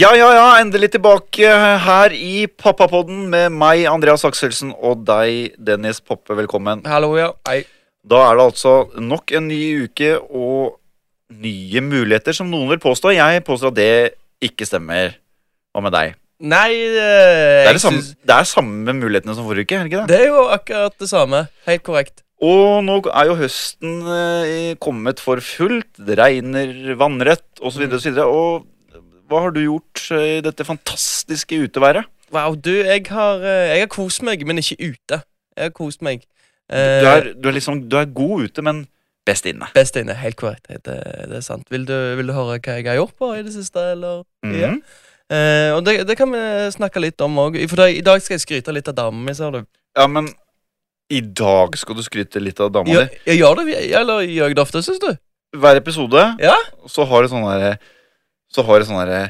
Ja, ja, ja, endelig tilbake her i Pappapodden med meg, Andreas Akselsen, og deg, Dennis Poppe. Velkommen. Hallo, ja. Hei. Da er det altså nok en ny uke og nye muligheter, som noen vil påstå. Jeg påstår at det ikke stemmer. Hva med deg? Nei eh, Det er, det samme, det er samme mulighetene som forrige uke, er det ikke det? Det er jo akkurat det samme. Helt korrekt. Og nå er jo høsten eh, kommet for fullt. Det regner vannrett osv. Og, så videre, og hva har du gjort eh, i dette fantastiske uteværet? Wow, du, jeg har, eh, jeg har kost meg, men ikke ute. Jeg har kost meg. Eh, Du er, du er liksom du er god ute, men best inne. Best inne. Helt korrekt. Det, det er sant. Vil du, vil du høre hva jeg har gjort på i det siste, eller? Mhm. Ja. Eh, og det, det kan vi snakke litt om òg. For da- i dag skal jeg skryte litt av damen min, ser du. Ja, men i dag skal du skryte litt av dama Jeg, di. jeg gjør det, eller gjør jeg det ofte, syns du? Hver episode Ja. så har du sånn derre Så har du sånn derre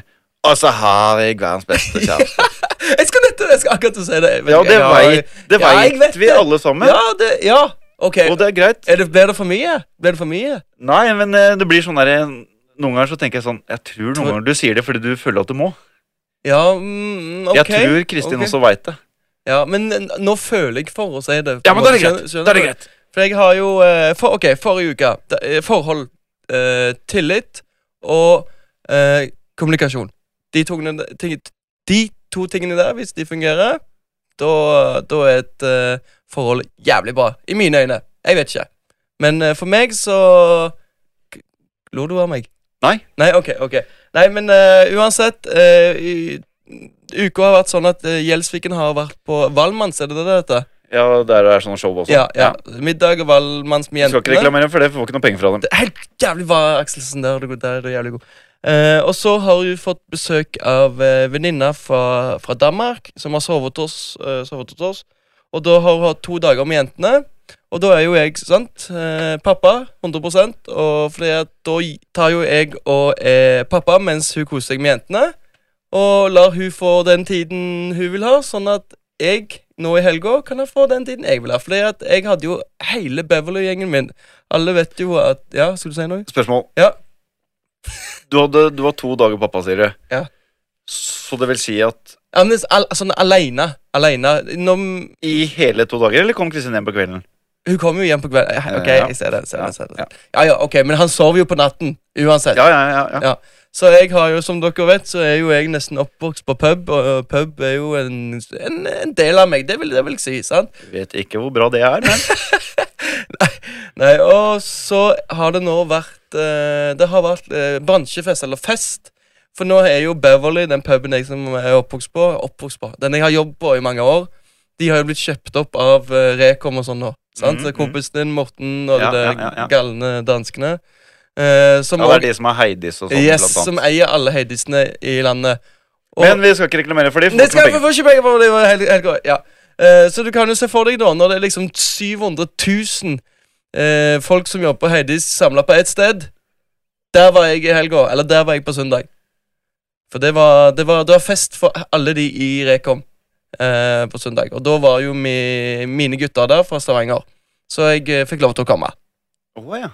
Og så har jeg verdens beste kjæreste. Jeg skal nettopp, jeg skal akkurat til å si det. Ja, det jeg, veit det Ja, jeg vet vet vi det. alle sammen. Ja, det, ja. ok. Og det er greit. Er det, blir det for mye? Blir det for mye? Nei, men eh, det blir sånn derre Noen ganger så tenker jeg sånn Jeg tror noen Tror- ganger du sier det fordi du føler at du må. Ja, mm, ok. Jeg tror Kristin ok. også veit det. Ja, men n- nå føler jeg for å si det. Ja, men da er det greit. Skjønner- skjønner Da er det du? greit. For jeg har jo eh, for, Ok, forrige uke. da- eh, Forhold, eh, tillit og eh, kommunikasjon. De to, tingene- ting, de to tingene der, hvis de fungerer, da, da er et eh, forhold jævlig bra. I mine øyne. Jeg vet ikke. Men eh, for meg så K- Lo du av meg? Nei. Nei, ok, ok. Nei, men eh, uansett eh, i, Uka har vært sånn at eh, Gjelsviken har vært på Valmanns, er det det det heter? Ja, der er sånn show også. Ja, ja. Middag og Valmanns Vi med skal ikke jentene. reklamere for det, for vi får ikke noe penger fra dem. Det er helt jævlig bra, Akselsen. Der er du god. Der er du jævlig god. Eh, og så har hun fått besøk av uh, venninna fra, fra Danmark, som har sovet hos, eh, sovet hos oss. Og da har hun hatt to dager med jentene. Og da er jo jeg sant, eh, pappa 100 og fordi at da gi- tar jo jeg og er pappa mens hun koser seg med jentene. Og lar hun få den tiden hun vil ha, sånn at jeg nå i helga kan jeg få den tiden jeg vil ha. Fordi at jeg hadde jo hele Beverly-gjengen min. Alle vet jo at Ja, skulle du si noe? Spørsmål. Ja. Du, hadde, du var to dager pappa, sier du. Ja. Så det vil si at Ja, men det er al sånn aleine. Aleine. Når i hele to dager, eller kom Kristin hjem på kvelden? Hun kommer jo hjem på kvelden. Ok, Ja. jeg ser det. ser Ja, det, ser det. Ja, ja, ok, Men han sover jo på natten uansett. Ja, ja, ja. ja. Ja. Så jeg har jo, som dere vet, så er jo jeg nesten oppvokst på pub, og og pub er jo en, en, en del av meg. Det vil, det vil jeg si. sant? Vet ikke hvor bra det er, men Nei, og så har det nå vært eh, Det har vært eh, bransjefest, eller fest. For nå er jo Beverly, den puben jeg som er oppvokst på, oppvokst på Den jeg har jobbet på i mange år, de har jo blitt kjøpt opp av eh, Rekom og sånn nå. Sant? Mhm, Så Kompisen din, Morten, og Ja, de der ja, ja, ja. galne danskene. eh, som ja, det er også- de som er Heidis og sånn, yes, blant som annet. eier alle heidisene i landet. Og- Men vi skal ikke reklamere for de. det skal jeg få ikke penger for. Det var helt, helt korrekt, ja. Eh, så du kan jo se for deg, da, når det er liksom 700 000 eh, folk som jobber på Heidis samla på ett sted. Der var jeg i helga. Eller der var jeg på søndag. For det var, det var, det var fest for alle de i Rekom eh, på søndag. Og da var jo mi, mine gutter der fra Stavanger. Så jeg eh, fikk lov til å komme. Å, ja.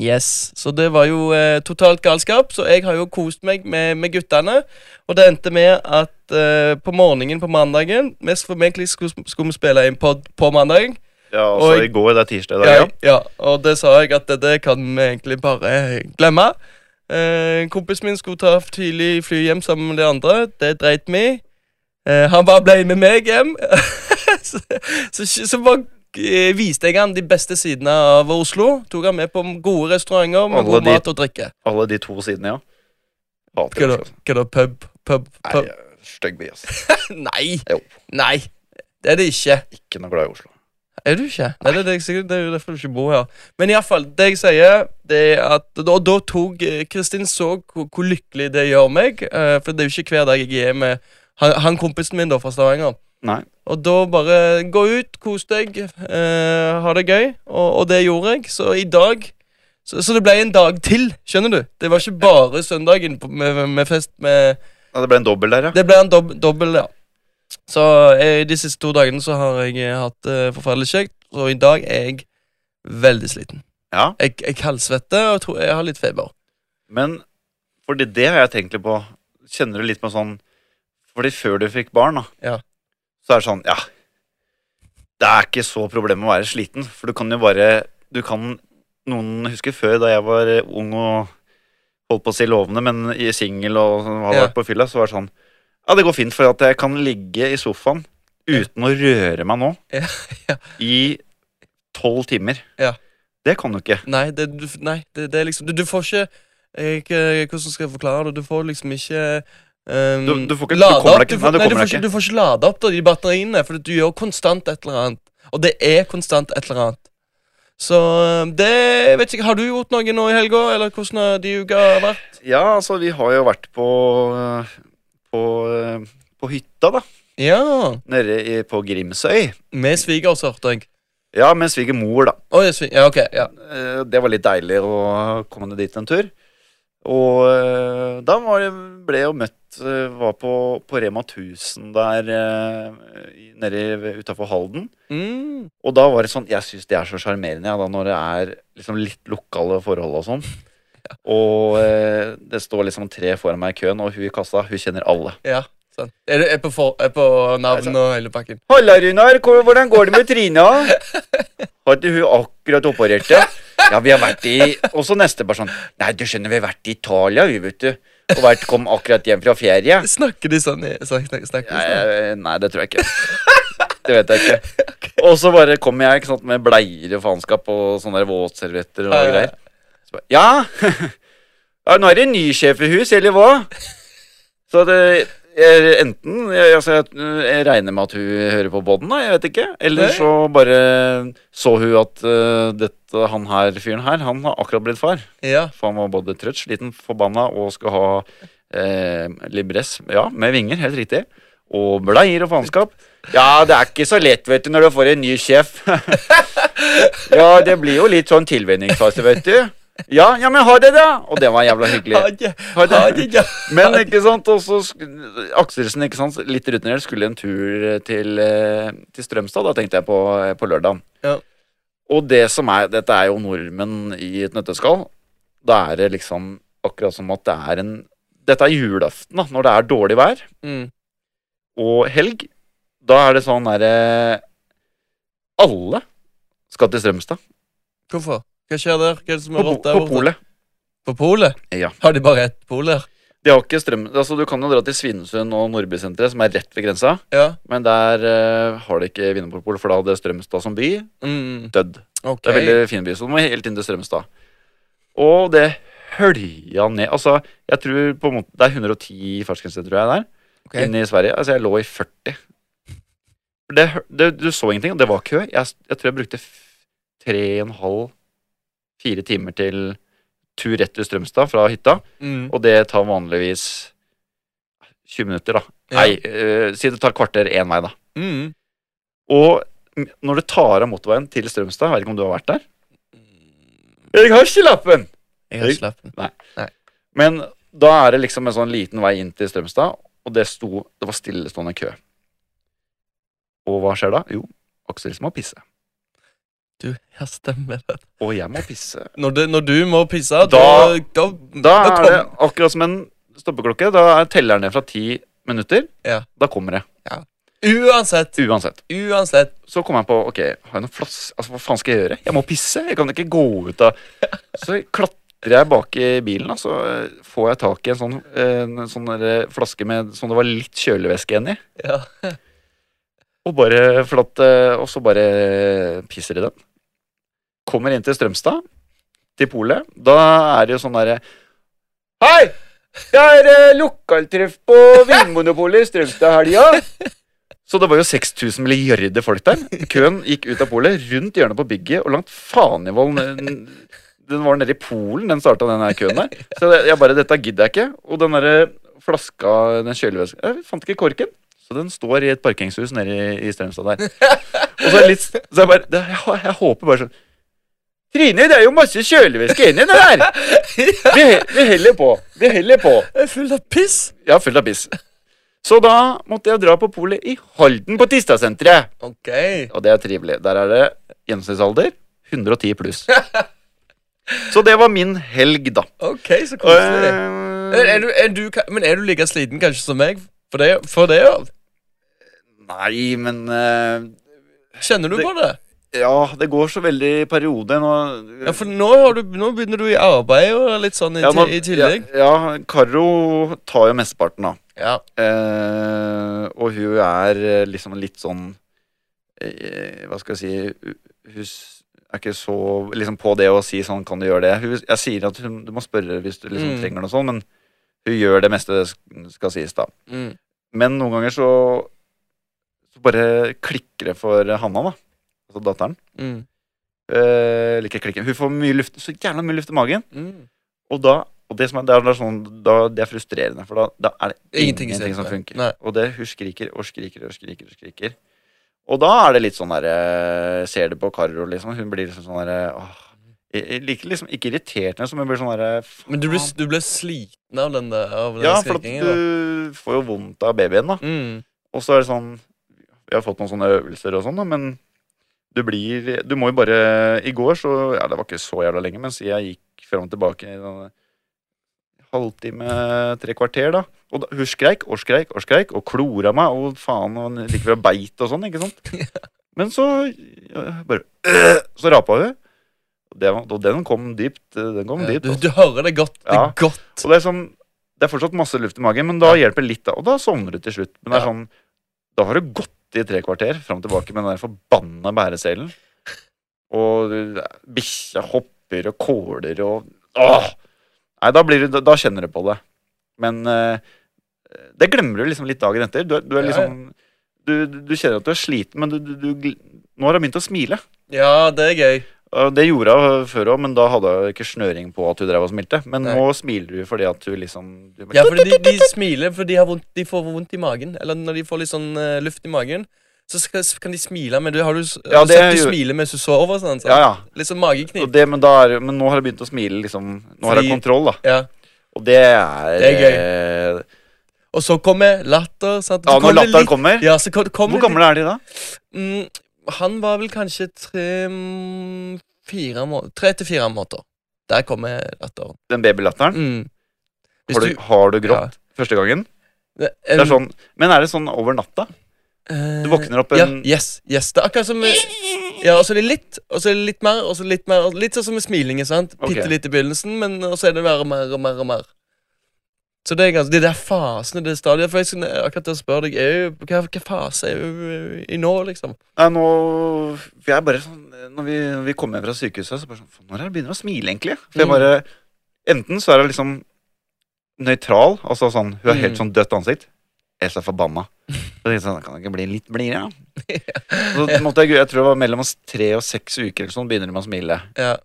Yes, så det var jo eh, totalt galskap, så jeg har jo kost meg med, med guttene. Og det endte med at eh, på morgenen på mandagen Mest formentlig skulle, skulle vi spille inn pod på mandag. ja, altså Og- i går, det er tirsdag i dag, Ja, ja. ja, og det sa jeg at det, det kan vi egentlig bare eh, glemme. Eh, kompisen min skulle ta tidlig fly hjem sammen med de andre. Det dreit vi. i. Eh, han bare ble med meg hjem. så, så, så bare eh, viste jeg han de beste sidene av Oslo. Tok han med på gode restauranter med Alle god de- mat og drikke. Alle de to sidene, ja. Hater Hva da? det, altså. Hva da? Pub? Pub? Nei, pub? jeg er stygg by, altså. ass. Nei! Jo. Nei! Det er det ikke. Ikke noe glad i Oslo. Er du ikke? Nei, det er, det, jeg sikkert, det er jo derfor du ikke bor her. Men iallfall, det jeg sier, det er at Og da tok eh, Kristin så hvor, hvor lykkelig det gjør meg, eh, for det er jo ikke hver dag jeg er med han, han kompisen min da fra Stavanger. Nei. Og da bare gå ut, kos deg, eh, ha det gøy. Og, og det gjorde jeg. Så i dag så, så det ble en dag til, skjønner du? Det var ikke bare søndagen på- med, med fest med Ja, det ble en dobbel der, ja. Det ble en dob dobbel, ja. Så eh, de siste to dagene så har jeg eh, hatt det forferdelig kjekt, og i dag er jeg veldig sliten. ja. Jeg, jeg kaldsvetter og tror jeg har litt feber. Men fordi det har jeg tenkt litt på. kjenner du litt på sånn Fordi før du fikk barn, da, Ja. så er det sånn Ja, det er ikke så problem å være sliten, for du kan jo bare Du kan Noen husker før, da jeg var eh, ung og holdt på å si lovende, men i singel og sånn, hadde Ja. vært på fylla, så var det sånn Ja, det går fint, for at jeg kan ligge i sofaen uten å røre meg nå Ja, ja. i tolv timer. Ja. Det kan du ikke. Nei, det, du, nei, det, det er liksom Du, du får ikke jeg, ikke- Hvordan skal jeg forklare det? Du får liksom ikke um, Du- du får ikke- du lade kommer opp. deg ikke- nei, Du får, du kommer nei, du får deg ikke ikke. du får ikke lade opp da, de batteriene, for du gjør konstant et eller annet. Og det er konstant et eller annet. Så um, det jeg vet ikke, Har du gjort noe nå i helga, eller hvordan har de uka vært? Ja, altså, vi har jo vært på øh, På, øh, på hytta, da. Ja, Nede i, på Grimsøy. med svigers, hørte jeg. Ja, med svigermor, da. Å, jeg svig- ja, ok, ja. Eh, Det var litt deilig å komme ned dit en tur. Og eh, da var det, ble jeg jo møtt eh, Var på, på Rema 1000 der eh, i- nede utafor Halden. Mm. Og da var det sånn Jeg syns det er så sjarmerende ja, da, når det er liksom litt lokale forhold og sånn. Og eh, det står liksom tre foran meg i køen, og hun i kassa, hun kjenner alle. Ja, sant. Er du er på, for, er på navn og hele pakken? Halla, Runar. hvor- Hvordan går det med Trina? Har ikke hun akkurat operert det? Ja, vi har vært i Og så neste person. Nei, du skjønner, vi har vært i Italia, vi, vet du. Og vært, kom akkurat hjem fra ferie. Snakker de sånn? i- Snak, snak, snakker de sånn? Nei, nei, det tror jeg ikke. Det vet jeg ikke. Og så bare kom jeg ikke sant, med bleier og faenskap og sånne der våtservietter og Ja, ja, ja. greier. Så bare, ja. ja, nå er det ny sjef i hus, eller hva? Så det jeg, enten jeg, altså, jeg, jeg regner med at hun hører på podden, da, jeg vet ikke. Eller Nei. så bare så hun at eh, dette, han her fyren her, han har akkurat blitt far. Ja. For han var både trøtt, sliten, forbanna og skal ha eh, libress ja, med vinger, helt riktig. Og bleier og faenskap. Ja, det er ikke så lett, vet du, når du får en ny sjef. ja, det blir jo litt sånn tilvenningsfase, vet du. Ja, ja, men ha det, da! Og det var jævla hyggelig. Ha det. Ha det. Ha det, ja. Men ikke sant, og så sk- Akselsen, ikke sant, litt rutinert, skulle en tur til, eh, til Strømstad, da tenkte jeg på, eh, på lørdagen. Ja. Og det som er, dette er jo nordmenn i et nøtteskall, da er det liksom akkurat som at det er en Dette er julaften, da, når det er dårlig vær Mm. og helg. Da er det sånn derre Alle skal til Strømstad, Hvorfor? Hva skjer der? Hva er det som på, er på, rått der på borte? polet. På polet? Ja. Har de bare ett pol der? De har ikke strøm, altså Du kan jo dra til Svinesund og Nordbysenteret, som er rett ved grensa. Ja. Men der eh, har de ikke Vinmonopol, for da hadde Strømstad som by Mm. dødd. Ok. Det er en veldig fin by, så du må helt inn til Strømstad. Og det hølja ned Altså, jeg tror på en måte Det er 110 fartsgrense, tror jeg, der. Ok. Inne i Sverige. Altså, jeg lå i 40. For Det, hø- det, du så ingenting, og det var kø. Jeg, jeg tror jeg brukte f- tre og en halv, fire timer til tur rett til Strømstad fra hytta, Mm. og det tar vanligvis 20 minutter, da. Ja. Nei, eh, si det tar kvarter én vei, da. Mm. Og m- når du tar av motorveien til Strømstad Jeg vet ikke om du har vært der? Jeg har ikke lappen! Jeg har Hei. ikke lappen. Men da er det liksom en sånn liten vei inn til Strømstad, og det, sto, det var stillestående kø. Og hva skjer da? Jo, Aksel må pisse. Du, ja, stemmer det. Og jeg må pisse. Når, det, når du må pisse, da Da- Da, Da er kom- det akkurat som en stoppeklokke. Da er telleren ned fra ti minutter. Ja. Da kommer det. Uansett. Uansett. Uansett. så kom jeg på ok, har jeg noen flass? Altså, hva faen skal jeg gjøre? Jeg må pisse. Jeg kan ikke gå ut av Så klatrer jeg bak i bilen, og så eh, får jeg tak i en sånn, eh, en sånn der flaske med sånn det var litt kjølevæske igjen i. Ja. Og, bare, for at, eh, og så bare pisser i den. Kommer inn til Strømstad, til polet. Da er det jo sånn derre Hei! Det er eh, lokaltreff på Vinmonopolet i Strømstad-helga. Så det var jo 6000 milliarder folk der. Køen gikk ut av polet, rundt hjørnet på bygget og langt faen i vold. n- Den var nede i Polen, den starta den her køen der. Så det- jeg bare Dette gidder jeg ikke. Og den derre flaska, den kjølevæsken Jeg fant ikke korken. Så den står i et parkeringshus nede i, i Strømstad der. Og så er det litt Så jeg bare det, jeg, jeg håper bare sånn Trine, det er jo masse kjølevæske inni det der! Vi, he- vi heller på. Vi heller på. Jeg er full av piss. Jeg har fullt av piss. Så da måtte jeg dra på polet i Halden på Tistadsenteret. Ok. Og det er trivelig. Der er det gjennomsnittsalder 110 pluss. Så det var min helg, da. Ok, så Og, koselig. eh, Er, er du, er du, ka- men er du like sliten kanskje som meg? For det, for det ja. Nei, men eh, Kjenner du Det- på det? Ja, det går så veldig i perioder nå. Ja, for nå, har du, nå begynner du i arbeid og litt sånn i, Ja, nå- ti- i tillegg. Ja, ja, Karo tar jo mesteparten, da. Ja. Eh, og hun er eh, liksom litt sånn eh, Hva skal jeg si hu- Hun s- er ikke så liksom på det å si sånn, kan du gjøre det? Hun, jeg sier at hun, du må spørre hvis du liksom Mm. trenger noe sånt, men hun gjør det meste det sk- skal sies, da. Mm. Men noen ganger så, så bare klikker det for Hanna, da. Altså datteren. Mm. Eh, eller ikke klikker. Hun får mye luft, så jævla mye luft i magen. Mm. Og da og det, som er, det, er da sånn, da, det er frustrerende, for da, da er det Ingenting ingenting, i stedet som for. funker. Nei. Og det, hun skriker og skriker og skriker. Og skriker Og da er det litt sånn derre Ser det på Karo, liksom. Hun blir liksom sånn derre åh. Jeg jeg liker liksom ikke irriterende, som hun blir sånn derre Men du ble, du ble sliten av den der av den Ja, for at skrikingen? da. du får jo vondt av babyen, da. Mm. Og så er det sånn Vi har fått noen sånne øvelser og sånn, da, men du blir Du må jo bare I går så Ja, det var ikke så jævla lenge, men siden jeg gikk fram og tilbake i sånn halvtime, tre kvarter, da. Og da, hun skreik og skreik og skreik og klora meg og faen og like ved beit og sånn, ikke sant. Men så ja, bare øh, Så rapa hun. Og, det, var- og den kom dypt. eh, Den kom Ja, dypt. Du, du hører det godt. Det Ja. er godt. Så det er sånn Det er fortsatt masse luft i magen, men da hjelper litt, da. Og da sovner du til slutt. Men det er Ja. sånn Da har du gått i tre kvarter fram og tilbake med den der forbanna bæreselen. Og du- bikkja hopper og kåler og Åh! Nei, da, blir du, da, da kjenner du på det. Men eh, det glemmer du liksom litt dagen etter. Du, er- du er Ja, ja. liksom du, du du kjenner at du er sliten, men du, du, du gl- Nå har hun begynt å smile. Ja, det er gøy. Og Det gjorde hun før òg, men da hadde hun ikke snøring på at hun drev og smilte. Men Nei. nå smiler hun fordi at hun liksom du bare, Ja, for de, de smiler, for de, har vondt, de får vondt i magen. Eller når de får litt sånn eh, luft i magen, så skal, s- kan de smile. Men du, har du, s- Ja, har du det sett er du jo- smiler mens du sover? Sånn, sånn. ja, ja. Litt sånn Og mageknip. det, men, da er, men nå har hun begynt å smile, liksom. Nå har hun Fordi- kontroll, da. Ja. Og det er, Det er gøy. Og så kommer latter. Sant? Ja, Så når kommer det latteren litt- kommer. Ja, så kom, kommer Hvor det gamle er de da? litt- Mm, han var vel kanskje tre mm, fire må Tre til fire måneder. Der kommer latteren. Den babylatteren? Mm. Hvis Har du, har du grått første gangen? Ja. Det er sånn, men er det sånn over natta? eh, Du våkner opp en Ja, yes, yes. Det er akkurat som Ja, og så er det litt, og så er det litt mer, og så litt mer og Litt sånn som med smilingen, sant? Ok. Bitte litt i begynnelsen, men og så er det mer og mer og mer og mer. Så det er ganske, det der fasene, det stadiet For jeg skulle akkurat til å spørre deg, er jo, hva, hva fase er du i nå, liksom? Nei, nå For jeg er bare sånn Når vi, når vi kom hjem fra sykehuset, så bare sånn "Faen, Når er det jeg begynner å smile, egentlig? For jeg Mm. bare Enten så er det liksom nøytral, altså sånn Hun har Mm. helt sånn dødt ansikt. Jeg er så forbanna. Så tenkte jeg sånn, kan jeg ikke bli litt blidere, da? Så måtte jeg, jeg tror det var mellom oss tre og seks uker eller sånn, begynner de å smile. Ja.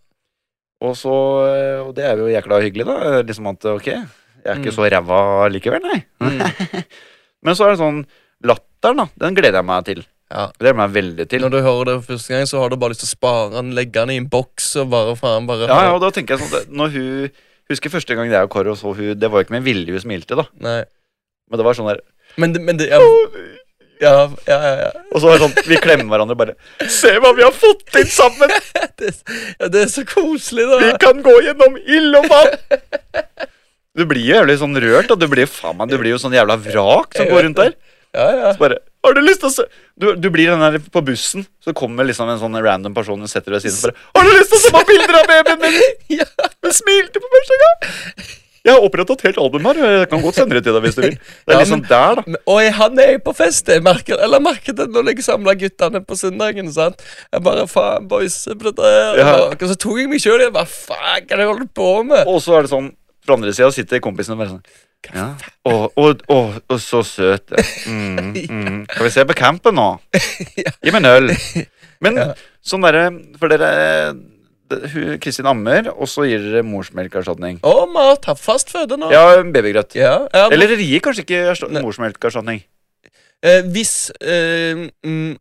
Og så eh, Og det er jo jækla hyggelig, da. eh, Liksom at ok, jeg er ikke Mm. så ræva likevel, nei. Mm. Men så er det sånn Latteren, da. Den gleder jeg meg til. Ja. Det gleder jeg meg veldig til. Når du hører det for første gang, så har du bare lyst til å spare den, legge den i en boks og bare faen bare Ja, ja, og da tenker jeg sånn at Når hun Husker første gang jeg og Karo så hun Det var jo ikke med vilje hun smilte, da. Nei. Men det var sånn der Men det, men det ja, ja, ja, ja, ja. Og så var det sånn Vi klemmer hverandre og bare Se hva vi har fått til sammen! Det, ja, det er så koselig, Vi da. kan gå gjennom ild og vann! Du blir jo jævlig sånn rørt, da. Du blir jo faen meg Du blir jo sånn jævla vrak som går rundt der. Ja, ja. Så bare Har du lyst til å se Du, du blir den der på bussen, så kommer liksom en sånn random person og setter deg ved siden og bare Har du lyst til å se på bilder av babyen min? ja. Hun smilte på første gang! Jeg har opprettet et helt album her. Jeg kan godt sende det til deg hvis du vil. Det er Ja, liksom men- der, da. Men- Og jeg, han er jo på fest, jeg merker, eller merket det når jeg samla guttene på søndagen. sant? Jeg bare faen, boys, se på dette her. Ja. Og så tok jeg meg sjøl i det. Faen, hva er det jeg holder på med? Og så er det sånn Fra andre sida sitter kompisen og bare sånn ja. Å, å, å, å, så søt. ja. Mm, mm. Skal vi se på campen nå? Gi meg en øl. Men sånn derre For dere det- hun- Kristin ammer, og så gir dere morsmelkerstatning. Å, mat. Har fast føde nå. Ja, babygrøt. Ja, ja, Eller dere gir kanskje ikke ersta- Nei. morsmelkerstatning. eh, hvis eh, mm,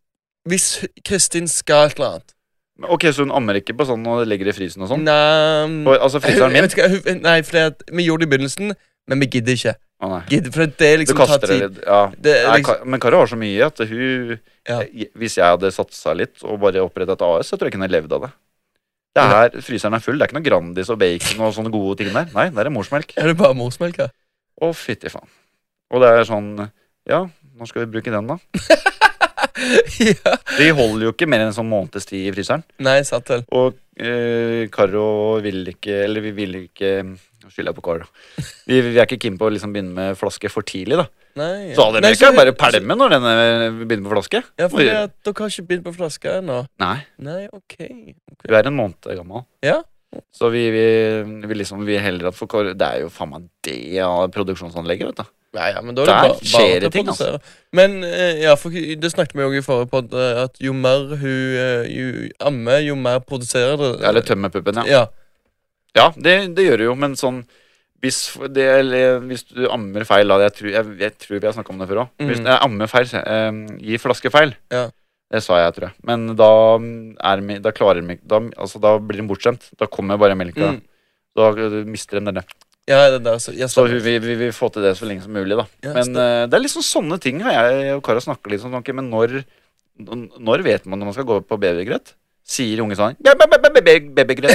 Hvis Kristin skal et eller annet Men Ok, Så hun ammer ikke på sånn og legger i frysen og sånn? Nei, Og, altså fryseren jeg min? vet ikke, hun- eh, Nei, fordi at vi gjorde det i begynnelsen, men vi gidder ikke. Å nei. Gidder, for det er Du liksom kaster tar tid. det litt. Ja. Det er Nei, liksom, Ka- men Kari har så mye at hun Ja. Hvis jeg hadde satsa litt og bare opprettet et AS, så tror jeg jeg kunne levd av det. Det er, fryseren er full. Det er ikke noe Grandis og bacon og sånne gode ting der. Nei, der er morsmelk. Er det bare morsmelk her? Å, fytti faen. Og det er sånn Ja, når skal vi bruke den, da? ja. De holder jo ikke mer enn en sånn måneds tid i fryseren. Nei, sant vel. Og eh, Karo vil ikke Eller vi vil ikke Nå skylder jeg på Karo. Vi, vi er ikke keen på å liksom begynne med flaske for tidlig, da. Nei, Så hadde Nei, dere ikke vi- bare pælme når denne begynner på flaske? Ja, for det at dere har ikke begynt på flaska ennå. Nei, Nei, OK. vi er en måned gammel. Ja. Så vi, vi, vi liksom vi heller at for Karo Det er jo faen meg det ja, produksjonsanlegget, vet du. Nei, ja, men da er det Der bare, skjer det bare til å ting, altså. produsere. Men eh, ja, for det snakket vi òg i forrige podd, eh, at jo mer hun eh, jo ammer, jo mer produserer det. Eller tømme puppen, ja. ja. Ja, det, det gjør det jo, men sånn hvis, det, eller, hvis du ammer feil, da Jeg tror, jeg, jeg tror vi har snakka om det før òg. Hvis Mm. jeg ammer feil, så, eh, gi flaske feil. Ja. Det sa jeg, tror jeg. Men da, er, mi- da klarer de ikke da, altså, da blir de bortskjemt. Da kommer bare melka. Mm. Da eh, mister de denne. Ja, det der, så, ja, Så stemmer. vi, vi, vi vil få til det så lenge som mulig, da. Ja, men eh, stemmer. det er liksom sånne ting har jeg og Kara snakker litt om. ok, men når, n- når vet man når man skal gå på babygrøt? Sier unge sånn «Be- be- be- be- be- Babygrøt.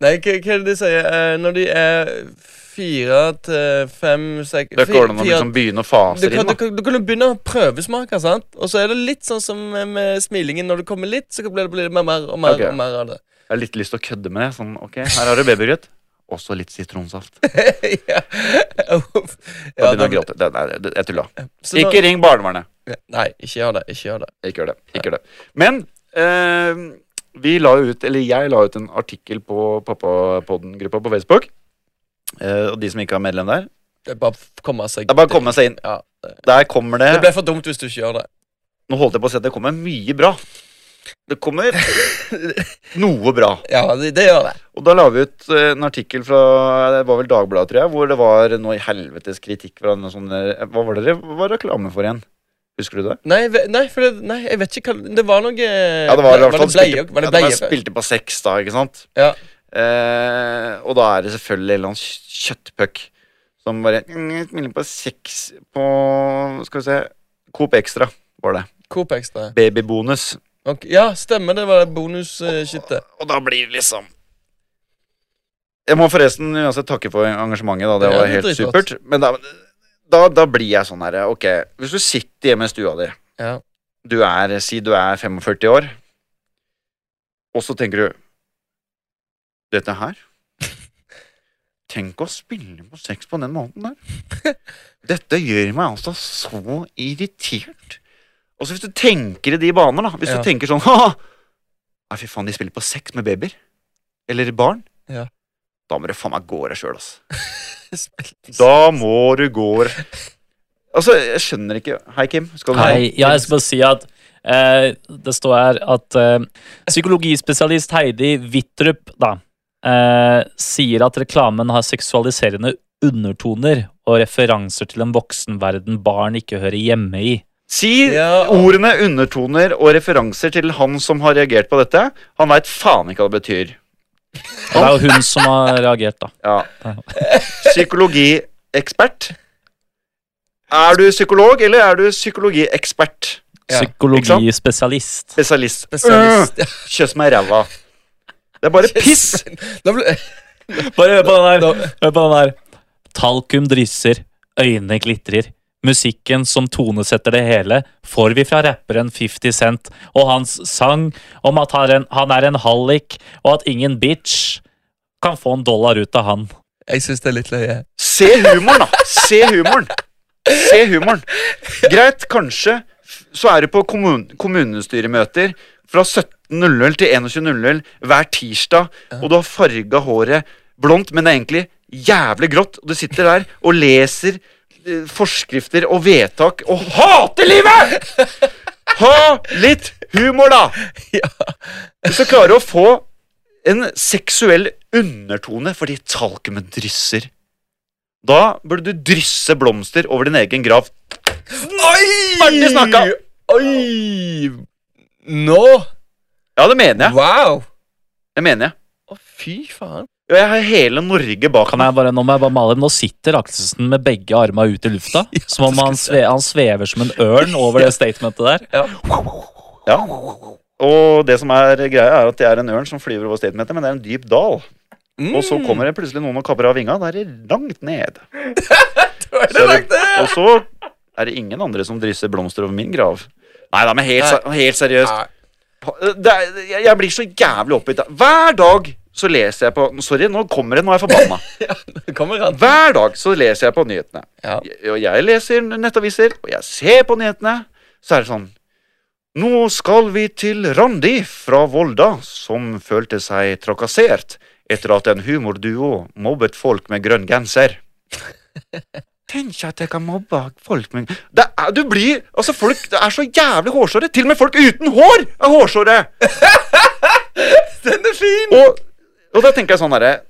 Nei, hva, hva er det de sier? Eh, når de er fire til fem sek, Det fi- går an å fire- liksom begynne å du fase det inn. kan, du, da. kan, du kan jo begynne å prøvesmake, sant? Og så er det litt sånn som med- med smilingen. Når det kommer litt, så blir det, blir det mer, mer og mer Ok. og mer av det. Jeg har litt lyst til å kødde med det. Sånn, ok, her har du babygrøt. Også litt sitronsaft. Da ja. ja, begynner jeg å da- gråte. Det, det, det, jeg tulla. så nå- Ikke ring barnevernet. Nei, ikke gjør det. Ikke gjør det. Ikke gjør det. Ikke gjør det. Men eh, vi la jo ut, eller jeg la ut en artikkel på Pappapodden-gruppa på Facebook. Eh, og de som ikke er medlem der, Det er bare å komme seg det er bare å komme seg inn. Ja. Der kommer det Det blir for dumt hvis du ikke gjør det. Nå holdt jeg på å si at det kommer mye bra. Det kommer noe bra. Ja, det, det gjør det. Og da la vi ut eh, en artikkel fra det var vel Dagbladet, tror jeg, hvor det var noe i helvetes kritikk fra noen sånne Hva var det det var reklame for igjen? Husker du det? Nei, ve- nei, for det, nei, jeg vet ikke hva Det var noe Ja, det var i hvert fall det bleier, Eh, var det ja, det var bleier? spilte på seks, da, ikke sant? Ja. Eh, og da er det selvfølgelig en eller annen kj- kjøttpuck som bare mm, Spiller på seks på Skal vi se Coop Extra var det. Coop Extra. Babybonus. Ok, ja, stemmer. Det var bonus-shitet. Og da blir det liksom Jeg må forresten uansett takke for engasjementet, da. Det Ja, var det er helt dritflott. supert. Men da, da, da blir jeg sånn herre, ok Hvis du sitter hjemme i stua di, Ja. du er, si du er 45 år, og så tenker du Dette her Tenk å spille på sex på den måten der. Dette gjør meg altså så irritert. Og så hvis du tenker i de baner, da. Hvis Ja. du tenker sånn «Haha, Nei, fy faen, de spiller på sex med babyer. Eller barn. Ja. Da må du faen meg gå deg sjøl, altså. Spilte- Da må du gå Altså, jeg skjønner ikke Hei, Kim. Skal du Hei. Ja, jeg skal bare si at eh, det står her at eh, psykologispesialist Heidi Wittrup da, eh, sier at reklamen har seksualiserende undertoner og referanser til en voksenverden barn ikke hører hjemme i. Si Ja. ordene, undertoner og referanser til han som har reagert på dette. Han veit faen ikke hva det betyr. Og det er jo hun som har reagert, da. Ja. Psykologiekspert. Er du psykolog, eller er du psykologiekspert? Ja, Psykologispesialist. Spesialist. Spesialist. Øh, Kjøss meg i ræva. Det er bare piss! Da ble, Bare hør på den her. Hør på den her. Talkum drysser, øynene glitrer. Musikken som tonesetter det hele, får vi fra rapperen 50 Cent og hans sang om at han er en, han er en hallik, og at ingen bitch kan få en dollar ut av han. jeg syns det er litt løye. Se humoren, da! Se humoren! Se humoren. Greit, kanskje f- så er det på kommun kommunestyremøter fra 17.00 til 21.00 hver tirsdag, og du har farga håret blondt, men det er egentlig jævlig grått, og du sitter der og leser eh, forskrifter og vedtak og hater livet! Ha litt humor, da! Ja. Hvis du klarer å få en seksuell undertone fordi talkumet drysser da burde du drysse blomster over din egen grav. Oi! Ferdig snakka. Oi! Nå? Ja, det mener jeg. Wow! Det mener jeg. Å, fy faen. Og jeg har hele Norge bak Kan meg. jeg bare, nå må jeg bare male. Nå sitter Akselsen med begge arma ut i lufta, som om han, sve, han svever som en ørn over det statementet der. Ja. Og det som er greia, er at det er en ørn som flyver over statementet, men det er en dyp dal. Mm. Og så kommer det plutselig noen og kapper av vinga. Da er det langt ned. Da er Så det er langt det, ned! og så er det ingen andre som drysser blomster over min grav. Nei da, men helt, ser- helt seriøst. Nei. Det er, jeg- jeg blir så jævlig oppgitt. da. Hver dag så leser jeg på Sorry, nå kommer det, nå er jeg forbanna. Det kommer han. Hver dag så leser jeg på nyhetene. Ja. Jeg- Og jeg leser nettaviser, og jeg ser på nyhetene. Så er det sånn Nå skal vi til Randi fra Volda, som følte seg trakassert etter at en humorduo mobbet folk med grønn genser. Tenk at jeg kan mobbe folk med det er, Du blir Altså, folk det er så jævlig hårsåre. Til og med folk uten hår er hårsåre! Den er fin! Og, og da tenker jeg sånn herre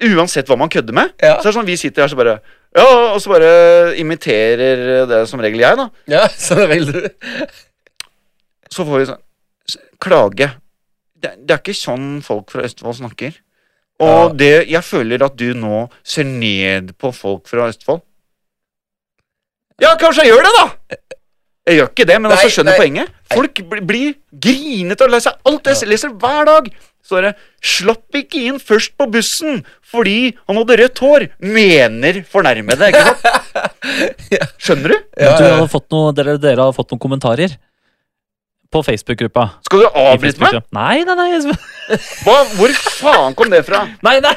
Uansett hva man kødder med, Ja. så er det sånn vi sitter her så bare Ja, og så bare imiterer det som regel jeg, da. Ja, sånn vil du. Så får vi sånn s- Klage. Det, det er ikke sånn folk fra Østfold snakker. Og det Jeg føler at du nå ser ned på folk fra Østfold. Ja, kanskje jeg gjør det, da! Jeg gjør ikke det, men Nei, altså skjønner nei. poenget. Folk bli- blir grinete og lei seg. Alt jeg leser hver dag. Så er det 'slapp ikke inn først på bussen fordi han hadde rødt hår', mener fornærmede. ikke sant? Skjønner du? Ja, du ja. hadde fått noe, dere, dere hadde fått noen kommentarer på Facebook-gruppa. Skal du I avbryte meg? Facebook-gruppa. Nei, nei, nei. jeg- Hva, hvor faen kom det fra? nei, nei.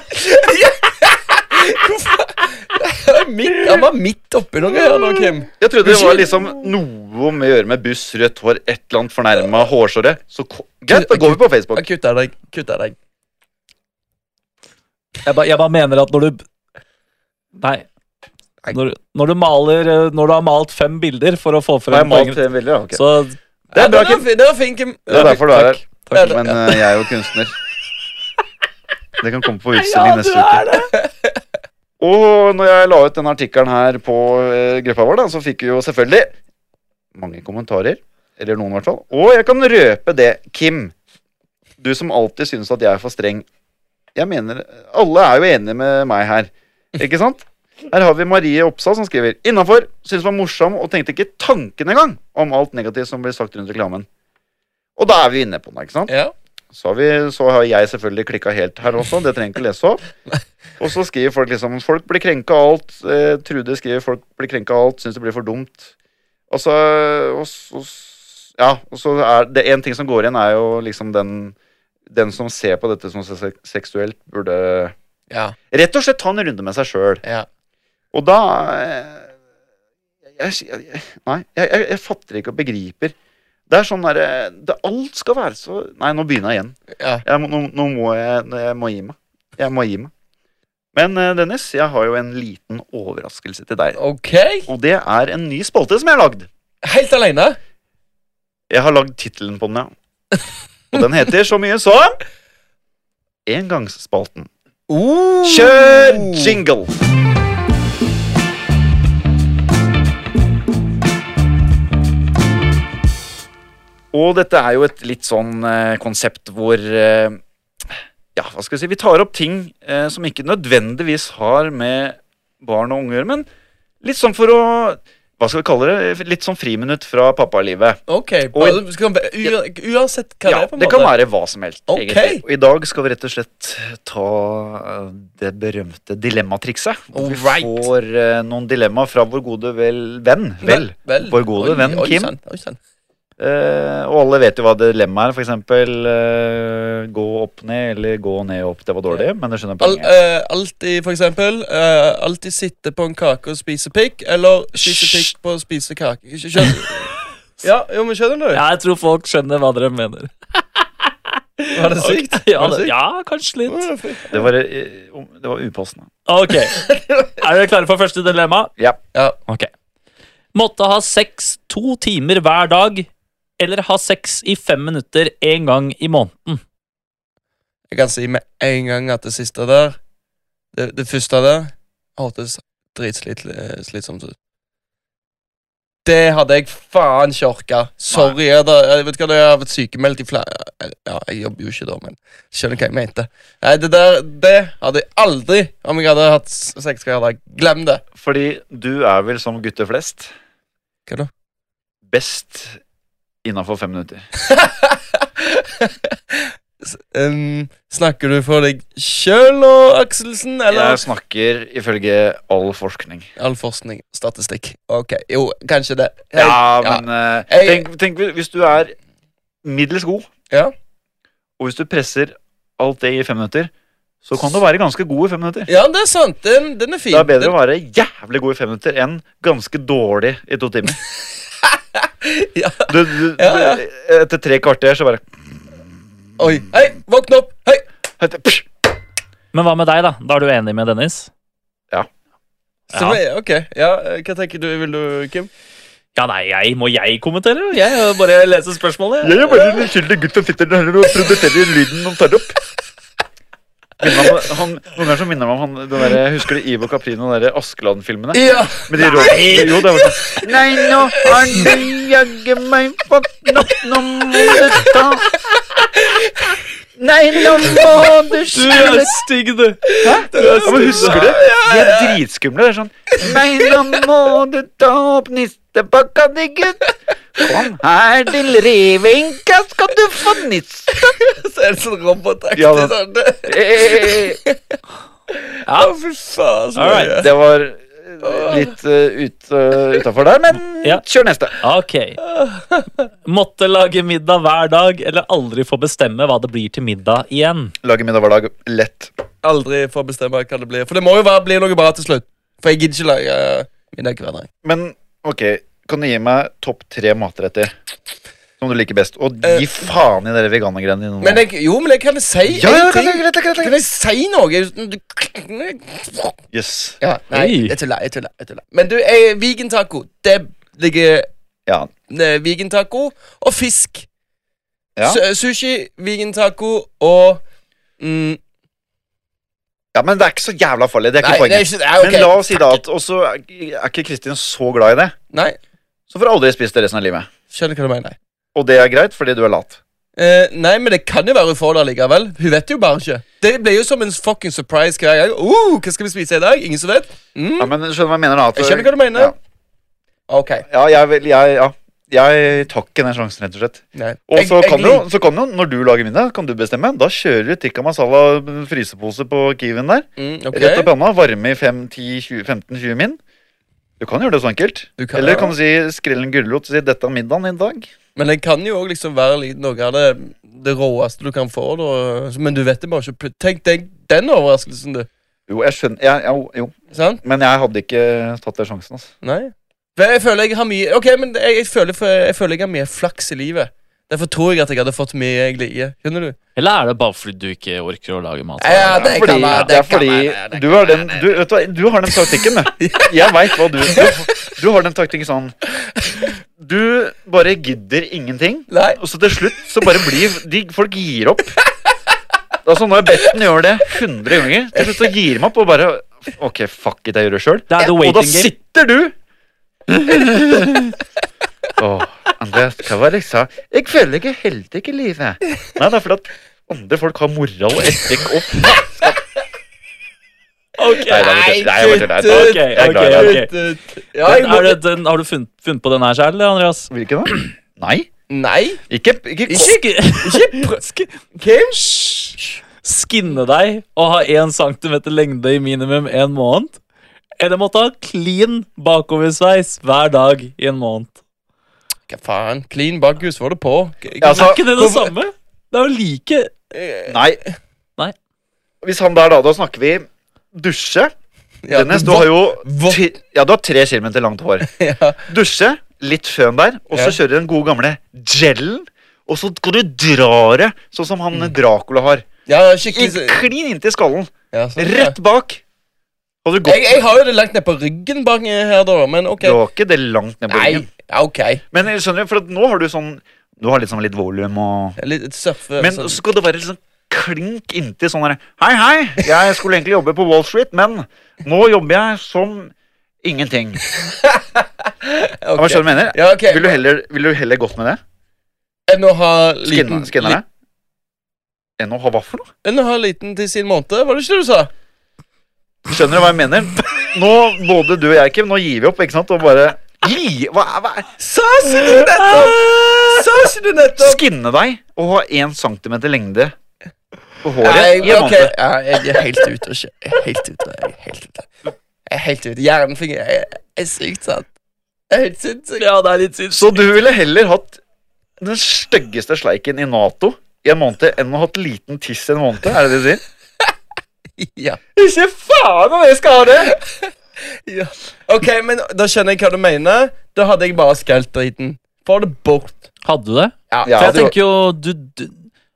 Han er midt, han var midt oppi noe her nå, Kim. Jeg trodde det var liksom noe med å gjøre med buss, rødt hår, et eller annet fornærma hårsåre. Så ko- greit, da går vi på Facebook. Han kutta deg. Kutta deg. Jeg, ba, jeg bare mener at når du Nei. Nei. Når, når du maler eh, Når du har malt fem bilder for å få Har jeg frem malt poenget tre bilder? Ja, ok. Så Det er bra, den Kim. fin- Den var fin, Kim. Det er derfor du er her. Takk. Men eh, jeg er jo kunstner. Det kan komme på utstilling neste uke. det! Og når jeg la ut denne artikkelen her på eh, gruppa vår, da, så fikk vi jo selvfølgelig mange kommentarer. Eller noen, i hvert fall. Og jeg kan røpe det, Kim. Du som alltid synes at jeg er for streng. Jeg mener, Alle er jo enige med meg her, ikke sant? Her har vi Marie Oppsal som skriver innafor. Synes var morsom og tenkte ikke tanken engang om alt negativt som blir sagt rundt reklamen. Og da er vi inne på noe, ikke sant? Ja. Så har, vi, så har jeg selvfølgelig klikka helt her også. Det trenger jeg ikke lese opp. Og så skriver folk liksom Folk blir krenka av alt. Eh, Trude skriver folk blir krenka av alt, syns det blir for dumt. Og så, og, s- og, s- ja, og så er det en ting som går igjen, er jo liksom den Den som ser på dette som se- seksuelt, burde Ja. Rett og slett ta en runde med seg sjøl. ja. Og da eh, jeg, jeg, jeg, Nei, jeg, jeg, jeg fatter ikke og begriper. Det er sånn derre det- Alt skal være så Nei, nå begynner jeg igjen. ja. Jeg må, nå, nå må jeg, nå- jeg må gi meg. Jeg må gi meg. Men eh, Dennis, jeg har jo en liten overraskelse til deg. OK. Og det er en ny spalte som jeg har lagd. Helt aleine. Jeg har lagd tittelen på den, ja. Og den heter så mye som Engangsspalten. Uh. Oh. Kjør jingle! Og dette er jo et litt sånn eh, konsept hvor eh, Ja, hva skal vi si Vi tar opp ting eh, som ikke nødvendigvis har med barn og unge å gjøre, men litt sånn for å Hva skal vi kalle det? Litt sånn friminutt fra pappalivet. OK. Og- bare- skal han- u- Uansett hva det Ja, er, på en det måte. kan være hva som helst. Ok. egentlig. Og I dag skal vi rett og slett ta eh, det berømte dilemmatrikset. Hvor vi Alright. får eh, noen dilemma fra vår gode vel, venn. Vel. vel. Vår gode Oi, venn oi, Kim. sann, Oi, sann. Eh, og alle vet jo hva dilemmaet er. For eksempel eh, gå opp ned eller gå ned opp. Det var dårlig, men du skjønner Al, poenget. eh, alltid, for eksempel eh, Alltid sitte på en kake og spise pikk, eller spise Hysj. pikk på å spise kake. Ikke Skjønner Ja, jo, men skjønner du? Ja, jeg tror folk skjønner hva dere mener. Var det sykt? Ja, Var det sykt? Mm. det, ja kanskje litt. Det, var, eh, om- det var upassende. Ok. Er dere klare for første dilemma? Ja. Ja. Ok. Måtte ha sex to timer hver dag, eller ha sex i fem minutter en gang i måneden. Jeg kan si med en gang at det siste der Det, det første der hørtes dritslitsomt ut. Det hadde jeg faen ikke orka. Sorry. Jeg, da, jeg vet ikke hva det er, jeg har vært sykemeldt i flere Ja, jeg jobber jo ikke da, men skjønner hva jeg mente. Nei, Det der, det hadde jeg aldri om jeg hadde hatt s- sex hver dag. Glem det. Fordi du er vel som gutter flest Hva da? best innafor fem minutter. Um, snakker du for deg sjøl nå, Akselsen, eller Jeg snakker ifølge all forskning. all forskning? Statistikk. Ok, jo, kanskje det. Hei. Ja, men eh, Jeg- tenk, tenk hvis du er middels god, Ja. og hvis du presser alt det i fem minutter, så kan du være ganske god i fem minutter. ja, det er sant. Den, den er fin. Det er bedre den, å være jævlig god i fem minutter enn ganske dårlig i to timer. Ja. Du, du, Ja, ja. Etter tre kvarter så bare Oi. Hei, våkne opp! Hei! Men hva med deg, da? Da er du enig med Dennis? Så, Ok, ja, eh, hva tenker du, vil du, Kim? Ja, nei, jeg, må jeg kommentere? Jeg bare leser spørsmålet. Jeg er bare en uskyldig gutt som sitter der og produserer lyden de tar opp. Minner meg om- Han, noen ganger så minner han meg om han, den der, Husker du Ivo Caprino og de der Askeland-filmene? Ja! Med de rådene Jo, det var sånn Nei, nå har du jaggu meg fått nok, nå må du ta Nei, nå må du slutte stygg, du. ja, men Husker du? De er dritskumle. Det er sånn Nei, nå må du ta opp nistepakka di, gutt. Kom her til revenka, skal du få nist... Så er det sånn robotaktig. Ja, men- sånn. det- Eh, Å, fy faen. Så Alright, mye. Det var eh, litt uh, ut, eh, utafor der, Ja. men kjør neste. Ok. Måtte lage middag hver dag, eller aldri få bestemme hva det blir til middag igjen. Lage middag hver dag. Lett. Aldri få bestemme hva det blir. For det må jo være, bli noe bra til slutt. For jeg gidder ikke lage middag hver dag. Men ok, kan du gi meg topp tre matretter som du liker best? Og gi faen i dere veganergreiene dine nå. Eh, Men jeg, jo, men jeg kan si ja, ja, en ting. greit, greit, greit, Kan greit. jeg si noe uten du- Yes. Ja, nei, Oi. jeg tuller, jeg tuller, jeg tuller. Men du, eh, vegan taco, det ligger Ja. eh, Vegan taco og fisk. Ja. Su- Sushi, vegan taco og mm, ja, men det er ikke så jævla farlig. Det er ikke Nei, det er poenget. ikke ja, ok. Men la oss si da at Og så er er ikke Kristin så glad i det, Nei, så får du aldri spist det resten av livet. skjønner hva du mener. Og det er greit, fordi du er lat. Eh, nei, men det kan jo være hun får det likevel. Hun vet jo bare ikke. Det blir jo som en fucking surprise hver gang. Uh, hva skal vi spise i dag? Ingen som vet? Mm. Ja, men skjønner du hva jeg mener da? At Jeg skjønner hva du mener. Ja, Ok. ja jeg, vil- jeg, ja. jeg tar ikke den sjansen, rett og slett. Nei. Og Jeg- så jeg kan, lik- jo- så kan jo, når du lager middag, kan du bestemme. Da kjører du tikka masala frysepose på Kiwien der. Mm, ok. Rett opp i hånda, varme i 5-10-15-20 min. Du kan gjøre det så enkelt. Du kan, Eller ja. kan du si skrill en gulrot og si 'dette er middagen i dag'. Men den kan jo òg liksom være litt noe av det, det råeste du kan få. Da. Men du vet det bare ikke. plut- Tenk deg den overraskelsen, du. Jo, jeg skjønner jeg, jo, jo. Sant? Men jeg hadde ikke tatt den sjansen. Altså. Nei. Men jeg føler jeg har mye Ok, men jeg, jeg, føler, for, jeg føler jeg har mye flaks i livet. Derfor tror jeg at jeg hadde fått mye jeg liker. Skjønner du? Eller er det bare fordi du ikke orker å lage mat? Eh, Ja, det fordi, kan være, det er det kan fordi være, det du, har den, du, vet du, hva, du har den taktikken, du. Jeg veit hva du du, du har den taktikken sånn Du bare gidder ingenting, Nei. og så til slutt så bare blir de, Folk gir opp. Altså Nå har jeg bedt den gjøre det 100 ganger. Til slutt så gir de opp og bare Ok, fuck it, jeg gjør det sjøl. Det er eh, the Og da waiting game. sitter du Åh, Andreas, hva var det jeg sa? Jeg føler jeg er heldig i livet. Nei, det er fordi at andre folk har moral og etikk og Ok. Nei, det er bare tull. Nei, jeg bare tuller. Jeg kutt Ok, er glad i ok, deg. ok. Ja, jeg må, Er det, den, har du funnet, funnet på den her selv, Andreas? Hvilken da? Nei. nei. Ikke, ikke, Kim? Ikke Skinne deg og ha 1 cm lengde i minimum en måned? Eller måtte ha clean bakoversveis hver dag i en måned? Hva faen? Clean bakhus, var det på? K- Ja, altså- Er ikke det det Hvorfor- samme? Det er jo like eh, Nei. Nei. Hvis han der, da, da snakker vi dusje. ja, Dennis, du vått- har jo vått- ti, Ja, du har tre kilometer langt hår. ja. Dusje, litt føn der, og så Ja. kjører du den gode gamle gelen. Og så skal du dra det, sånn som Mm. han Dracula har. ja, I, skikkelig klin inntil skallen. ja, sånn, ja. Rett bak. Hadde du gått Jeg, jeg har jo det langt ned på ryggen bak her, da, men ok. Du har ikke det langt ned på Nei, ryggen. ja, ok. Men jeg skjønner, for at nå har du sånn Du har litt sånn litt volum og Litt surfe Men så sånn. skal det være litt sånn klink inntil sånn derre Hei, hei, jeg skulle egentlig jobbe på Wall Street, men nå jobber jeg som ingenting. Ja, Ok. Hva skjønner du mener? Ja, ok. Vil du heller, vil du heller gått med det? Enn å ha liten Skinner, skinner det? Enn å ha hva for noe? li- Enn å ha liten til sin måned, var det ikke det du sa? Skjønner du hva jeg mener? Nå, både du og jeg, Kim, nå gir vi opp, ikke sant? Og bare Li... Hva, hva er Sa ikke du nettopp? Sa ikke du nettopp? Skinne deg og ha én centimeter lengde på Nei, håret i en ok, måned. ja, jeg er helt ute. og kjø- Jeg er helt ute. Jeg er helt ute. Jeg er helt ute. Hjernen fungerer. Jeg jeg er sykt sant. Jeg er helt sinnssyk. Ja, det er litt sinnssykt. Så du ville heller hatt den styggeste sleiken i Nato i en måned enn å ha hatt liten tiss i en måned? Er det det du sier? Ja. Ikke faen om jeg skal ha det! ja. Ok, men da skjønner jeg hva du mener. Da hadde jeg bare skrelt driten. Få det bort. Hadde du det? Ja, Ja, For det jeg var- tenker jo du, du,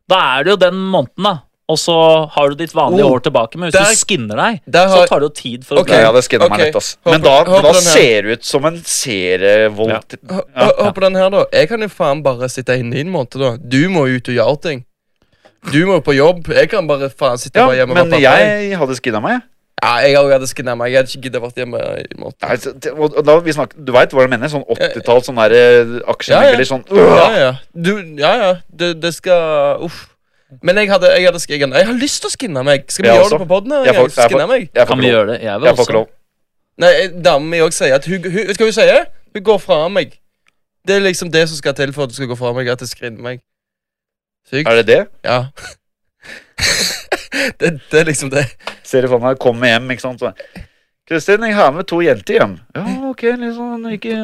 Da er det jo den måneden, da. Og så har du ditt vanlige Oh, år tilbake. Men hvis der- du skinner deg, der så har- tar det jo tid for å Ok. Nei, bli jeg hadde skinnet ok. meg lett, ass. Håper- Men da, håper da den her. ser du ut som en serievoldt Hør hør på den her, da. Jeg kan jo faen bare sitte inne i en måned, da. Du må ut og gjøre ting. Du må på jobb. Jeg kan bare faen sitte Ja, bare hjemme og men være pappa. jeg hadde skinnet meg. jeg. Ja, jeg også hadde skinnet meg. Jeg hadde ikke giddet å vært hjemme i en måned. Nei, så- det- og og da vi snakket, Du veit hva jeg mener? Sånn 80-tall, sånn derre Ja, ja. aksjemegler, sånn Ja, øh. ja. Du, ja, ja. Det, det skal Uff. Men jeg hadde, jeg hadde skinnet Jeg har lyst til å skinne meg. Skal vi Jeg gjøre også. det på poden? Jeg får- jeg Skinne meg? Jeg får Kan ikke vi lov. gjøre det? Jeg vil Jeg får ikke også. lov. Nei, eh, damen min òg sier at hun, hun Vet du hva hun sier? Hun går fra meg. Det er liksom det som skal til for at du skal gå fra meg, at jeg skinner meg. Sykt? Er det det? Ja. det, det er liksom det. Ser du for meg kommer hjem, ikke sant. så, Kristin, jeg har med to jenter hjem. Ja, ok, liksom ikke,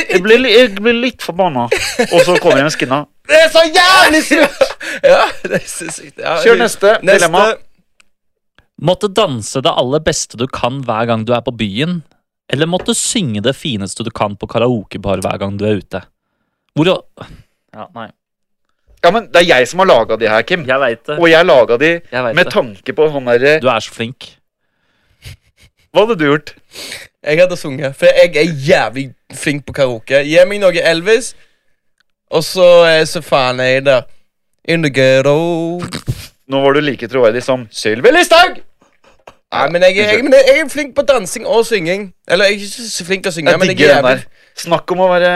Jeg blir, li- jeg blir litt forbanna. Og så kommer jeg med skinna. Det er så jævlig sykt! ja, det er så sykt. Ja, Kjør hun- neste dilemma. Måtte danse det aller beste du kan hver gang du er på byen, eller måtte synge det fineste du kan på karaokebar hver gang du er ute. Hvor Ja, nei. Ja, men Det er jeg som har laga de her, Kim. Jeg veit det. Og jeg laga de Jeg vet med det. tanke på sånn derre Du er så flink. Hva hadde du gjort? Jeg hadde sunget, for jeg er jævlig flink på karaoke. Gi meg noe Elvis, og så er så faen er jeg der. In the ghetto Nå var du like troverdig som Sylvi Listhaug! Nei, men jeg, jeg, men jeg er flink på dansing og synging. Eller jeg er ikke så flink til å synge, Jeg men jeg digger er den der. jævlig Snakk om å være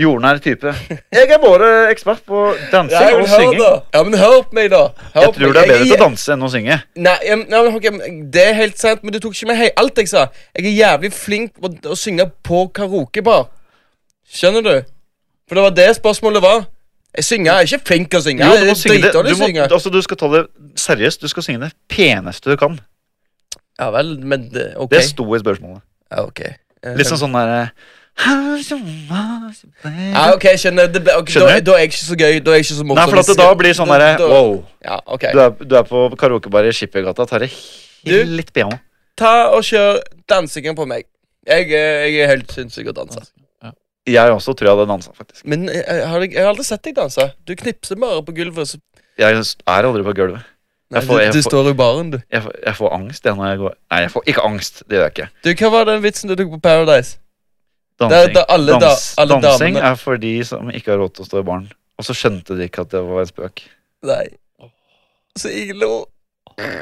jordnær type. Jeg er bare ekspert på ja, dansing men og hør synging. da. ja, men hør på meg, da. Hør Jeg på tror meg. det er bedre Jeg til å danse enn å synge. Nei, jeg, nei, men ok, men Det er helt sant, men du tok ikke med hei, alt jeg sa. Jeg er jævlig flink på å synge på karaokebar. Skjønner du? For det var det spørsmålet var. Jeg synger, jeg er ikke flink til å synge. Jo, du jeg må er synge det. dritdårlig Du, til å må, synge. altså, du skal ta det seriøst. Du skal synge det peneste du kan. Ja vel, men det, ok. Det sto i spørsmålet. ja, ok. Eh, Litt sånn sånn derre ja, Nei, ok, jeg skjønner. Det ble, ok, da, Skjønner du? da er jeg ikke så gøy. Da er jeg ikke så morsom. for at det da blir sånn derre Da- da- Wow. Ja, ok. Du er, du er på karaokebar i Skippergata. Tar det Du- litt piano. Ta og kjør dansingen på meg. Jeg, er- jeg er helt sinnssyk å danse. Jeg også tror jeg hadde dansa, faktisk. Men jeg, jeg, har, jeg har aldri sett deg danse. Du knipser bare på gulvet. Så, Jeg er aldri på gulvet. nei, Jeg får- jeg du, du får- står i baren, du. Jeg får, jeg får angst jeg, når jeg går Nei, jeg får ikke angst. Det gjør jeg ikke. Du, Hva var den vitsen du tok på Paradise? Dansing, Det er da alle da- alle dansing damene- er for de som ikke har råd til å stå i baren. Og så skjønte de ikke at det var en spøk. Nei. Så jeg lo.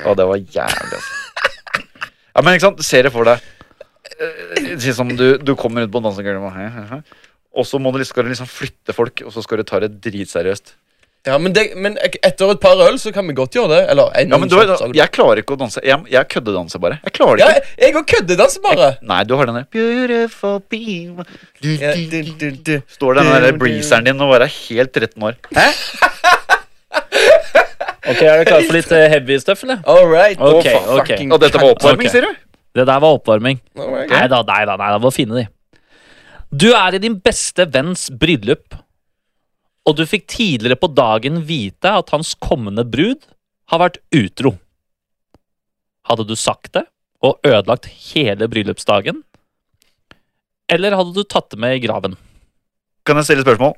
Og det var jævlig, altså. Ja, men ikke sant, se det for deg. Eh, Si som du, du kommer ut på dansegulvet, og hei, hei, hei. og så må du, liksom- skal du liksom flytte folk, og så skal du ta det dritseriøst. Ja, men, det, men ek- etter et par øl så kan vi godt gjøre det. Eller en Ja, men du, shot, så- Jeg klarer ikke å danse. Jeg, jeg køddedanser bare. Jeg klarer det ja, ikke. Jeg òg køddedanser bare. Nei, du har den der Beautiful people Du, Ja, du, du, du, du. Står den der breezeren din og bare er helt 13 år. Ok, Er du klar for litt eh, heavy stuff, eller? All right. Ok, Å, fa- ok. fucking Og dette var oppvarming, Ok. sier du? Det der var oppvarming. All right. Nei da, nei da, nei da, må finne de. Du er i din beste venns bryllup, og du fikk tidligere på dagen vite at hans kommende brud har vært utro. Hadde du sagt det og ødelagt hele bryllupsdagen? Eller hadde du tatt det med i graven? Kan jeg stille spørsmål?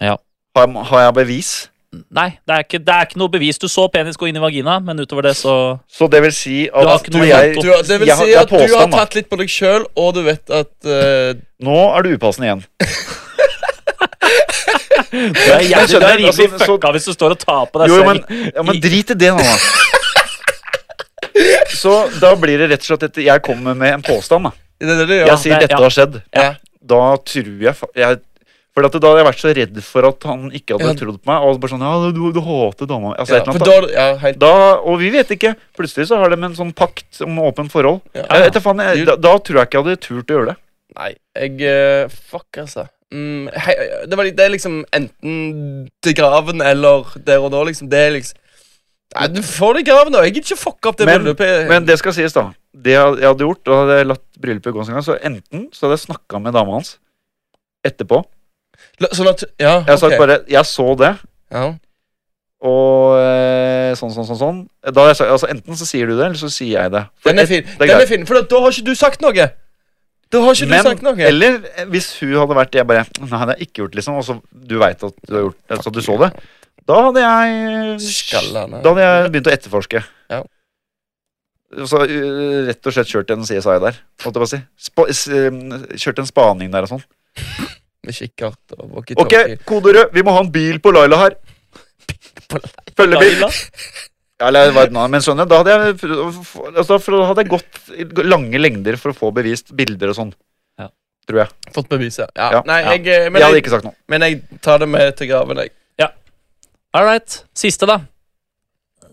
Ja. Har jeg, har jeg bevis? Nei, det er ikke, det er ikke noe bevis. Du så penis gå inn i vagina, men utover det så Så det vil si Du har at ikke når noe jeg foto. Du, har- det vil Jeg har- si det er at du har påstand, da. tatt litt på deg sjøl, og du vet at eh, Nå er du upassende igjen. Du er jævlig- du er skjønner, rimelig altså, så- fucka hvis du står og tar på deg Jo, jo, selv. men, ja, men drit i det nå, da. Så da blir det rett og slett at jeg kommer med en påstand. da Det er det du Jeg gjør. sier det- dette ja. har skjedd. Ja. Da tror jeg, fa- jeg For at da hadde jeg vært så redd for at han ikke hadde Ja. trodd på meg. Og bare sånn, ja, du, du hater dama mi», altså, Ja, et eller for annet, da, er det- ja, helt, da, Og vi vet ikke. Plutselig så har de en sånn pakt om åpent forhold. Ja. Jeg vet da faen, jeg, Du- da, da tror jeg ikke jeg hadde turt å gjøre det. Nei, jeg eh, Fuck, altså. Mm, hei, det, var, li- det er liksom enten til graven eller der og da, liksom. Det er liksom Nei, du får det i graven, da. Jeg gidder ikke fucke opp det Men- bryllupet. Men det skal sies, da. Det jeg jeg hadde gjort, da hadde jeg latt bryllupet gå sin gang. Så enten så hadde jeg snakka med dama hans etterpå. La- Sånn at Ja, Jeg hadde ok. sagt bare 'jeg så det', ja. og eh, sånn, sånn, sånn. sånn. Da hadde jeg sagt, altså Enten så sier du det, eller så sier jeg det. For Den er et- fin, det den er greit. fin for da- da har ikke du sagt noe. Da har ikke Men, du sagt noe. eller eh, hvis hun hadde vært Jeg bare Nei, det har jeg ikke gjort, liksom. Og så du veit at du har gjort det, så du så det. Da hadde jeg eh, Skallene. Da hadde jeg begynt å etterforske. Ja. Så uh, rett og slett kjørt en CSI der. Holdt jeg på å si. Spa, s, um, kjørt en spaning der og sånn. Med kikkert og Ok, walkietalkie. kode rød, vi må ha en bil på Laila her. Følgebil. Laila? Ja, eller det var et navn, men skjønner, da hadde jeg, prøvd å få- altså, for da hadde jeg gått i lange lengder for å få bevist bilder og sånn. Ja. Tror jeg. Fått beviset. Ja. Ja. Nei, Ja. jeg, eh, men, jeg hadde jeg, ikke sagt noe. men jeg tar det med til graven, jeg. All right. Siste, da.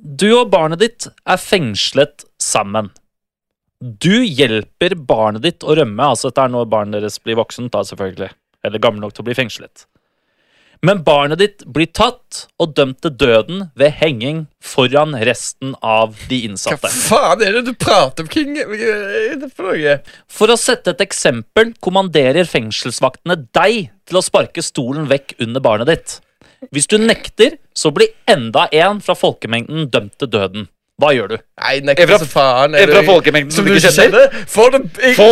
Du og barnet ditt er fengslet sammen. Du hjelper barnet ditt å rømme. Altså, dette er når barnet deres blir voksent, da, selvfølgelig. Eller gammel nok til å bli fengslet. Men barnet ditt blir tatt og dømt til døden ved henging foran resten av de Hva innsatte. faen er det du prater om, King? Hva er det for noe? For å sette et eksempel kommanderer fengselsvaktene deg til å sparke stolen vekk under barnet ditt. Hvis du nekter, så blir enda en fra folkemengden dømt til døden. Hva gjør du? Nei, nekter Evra- så faen. er Evra du- folkemengden som du ikke kjenner. kjenner? Får du jeg- Få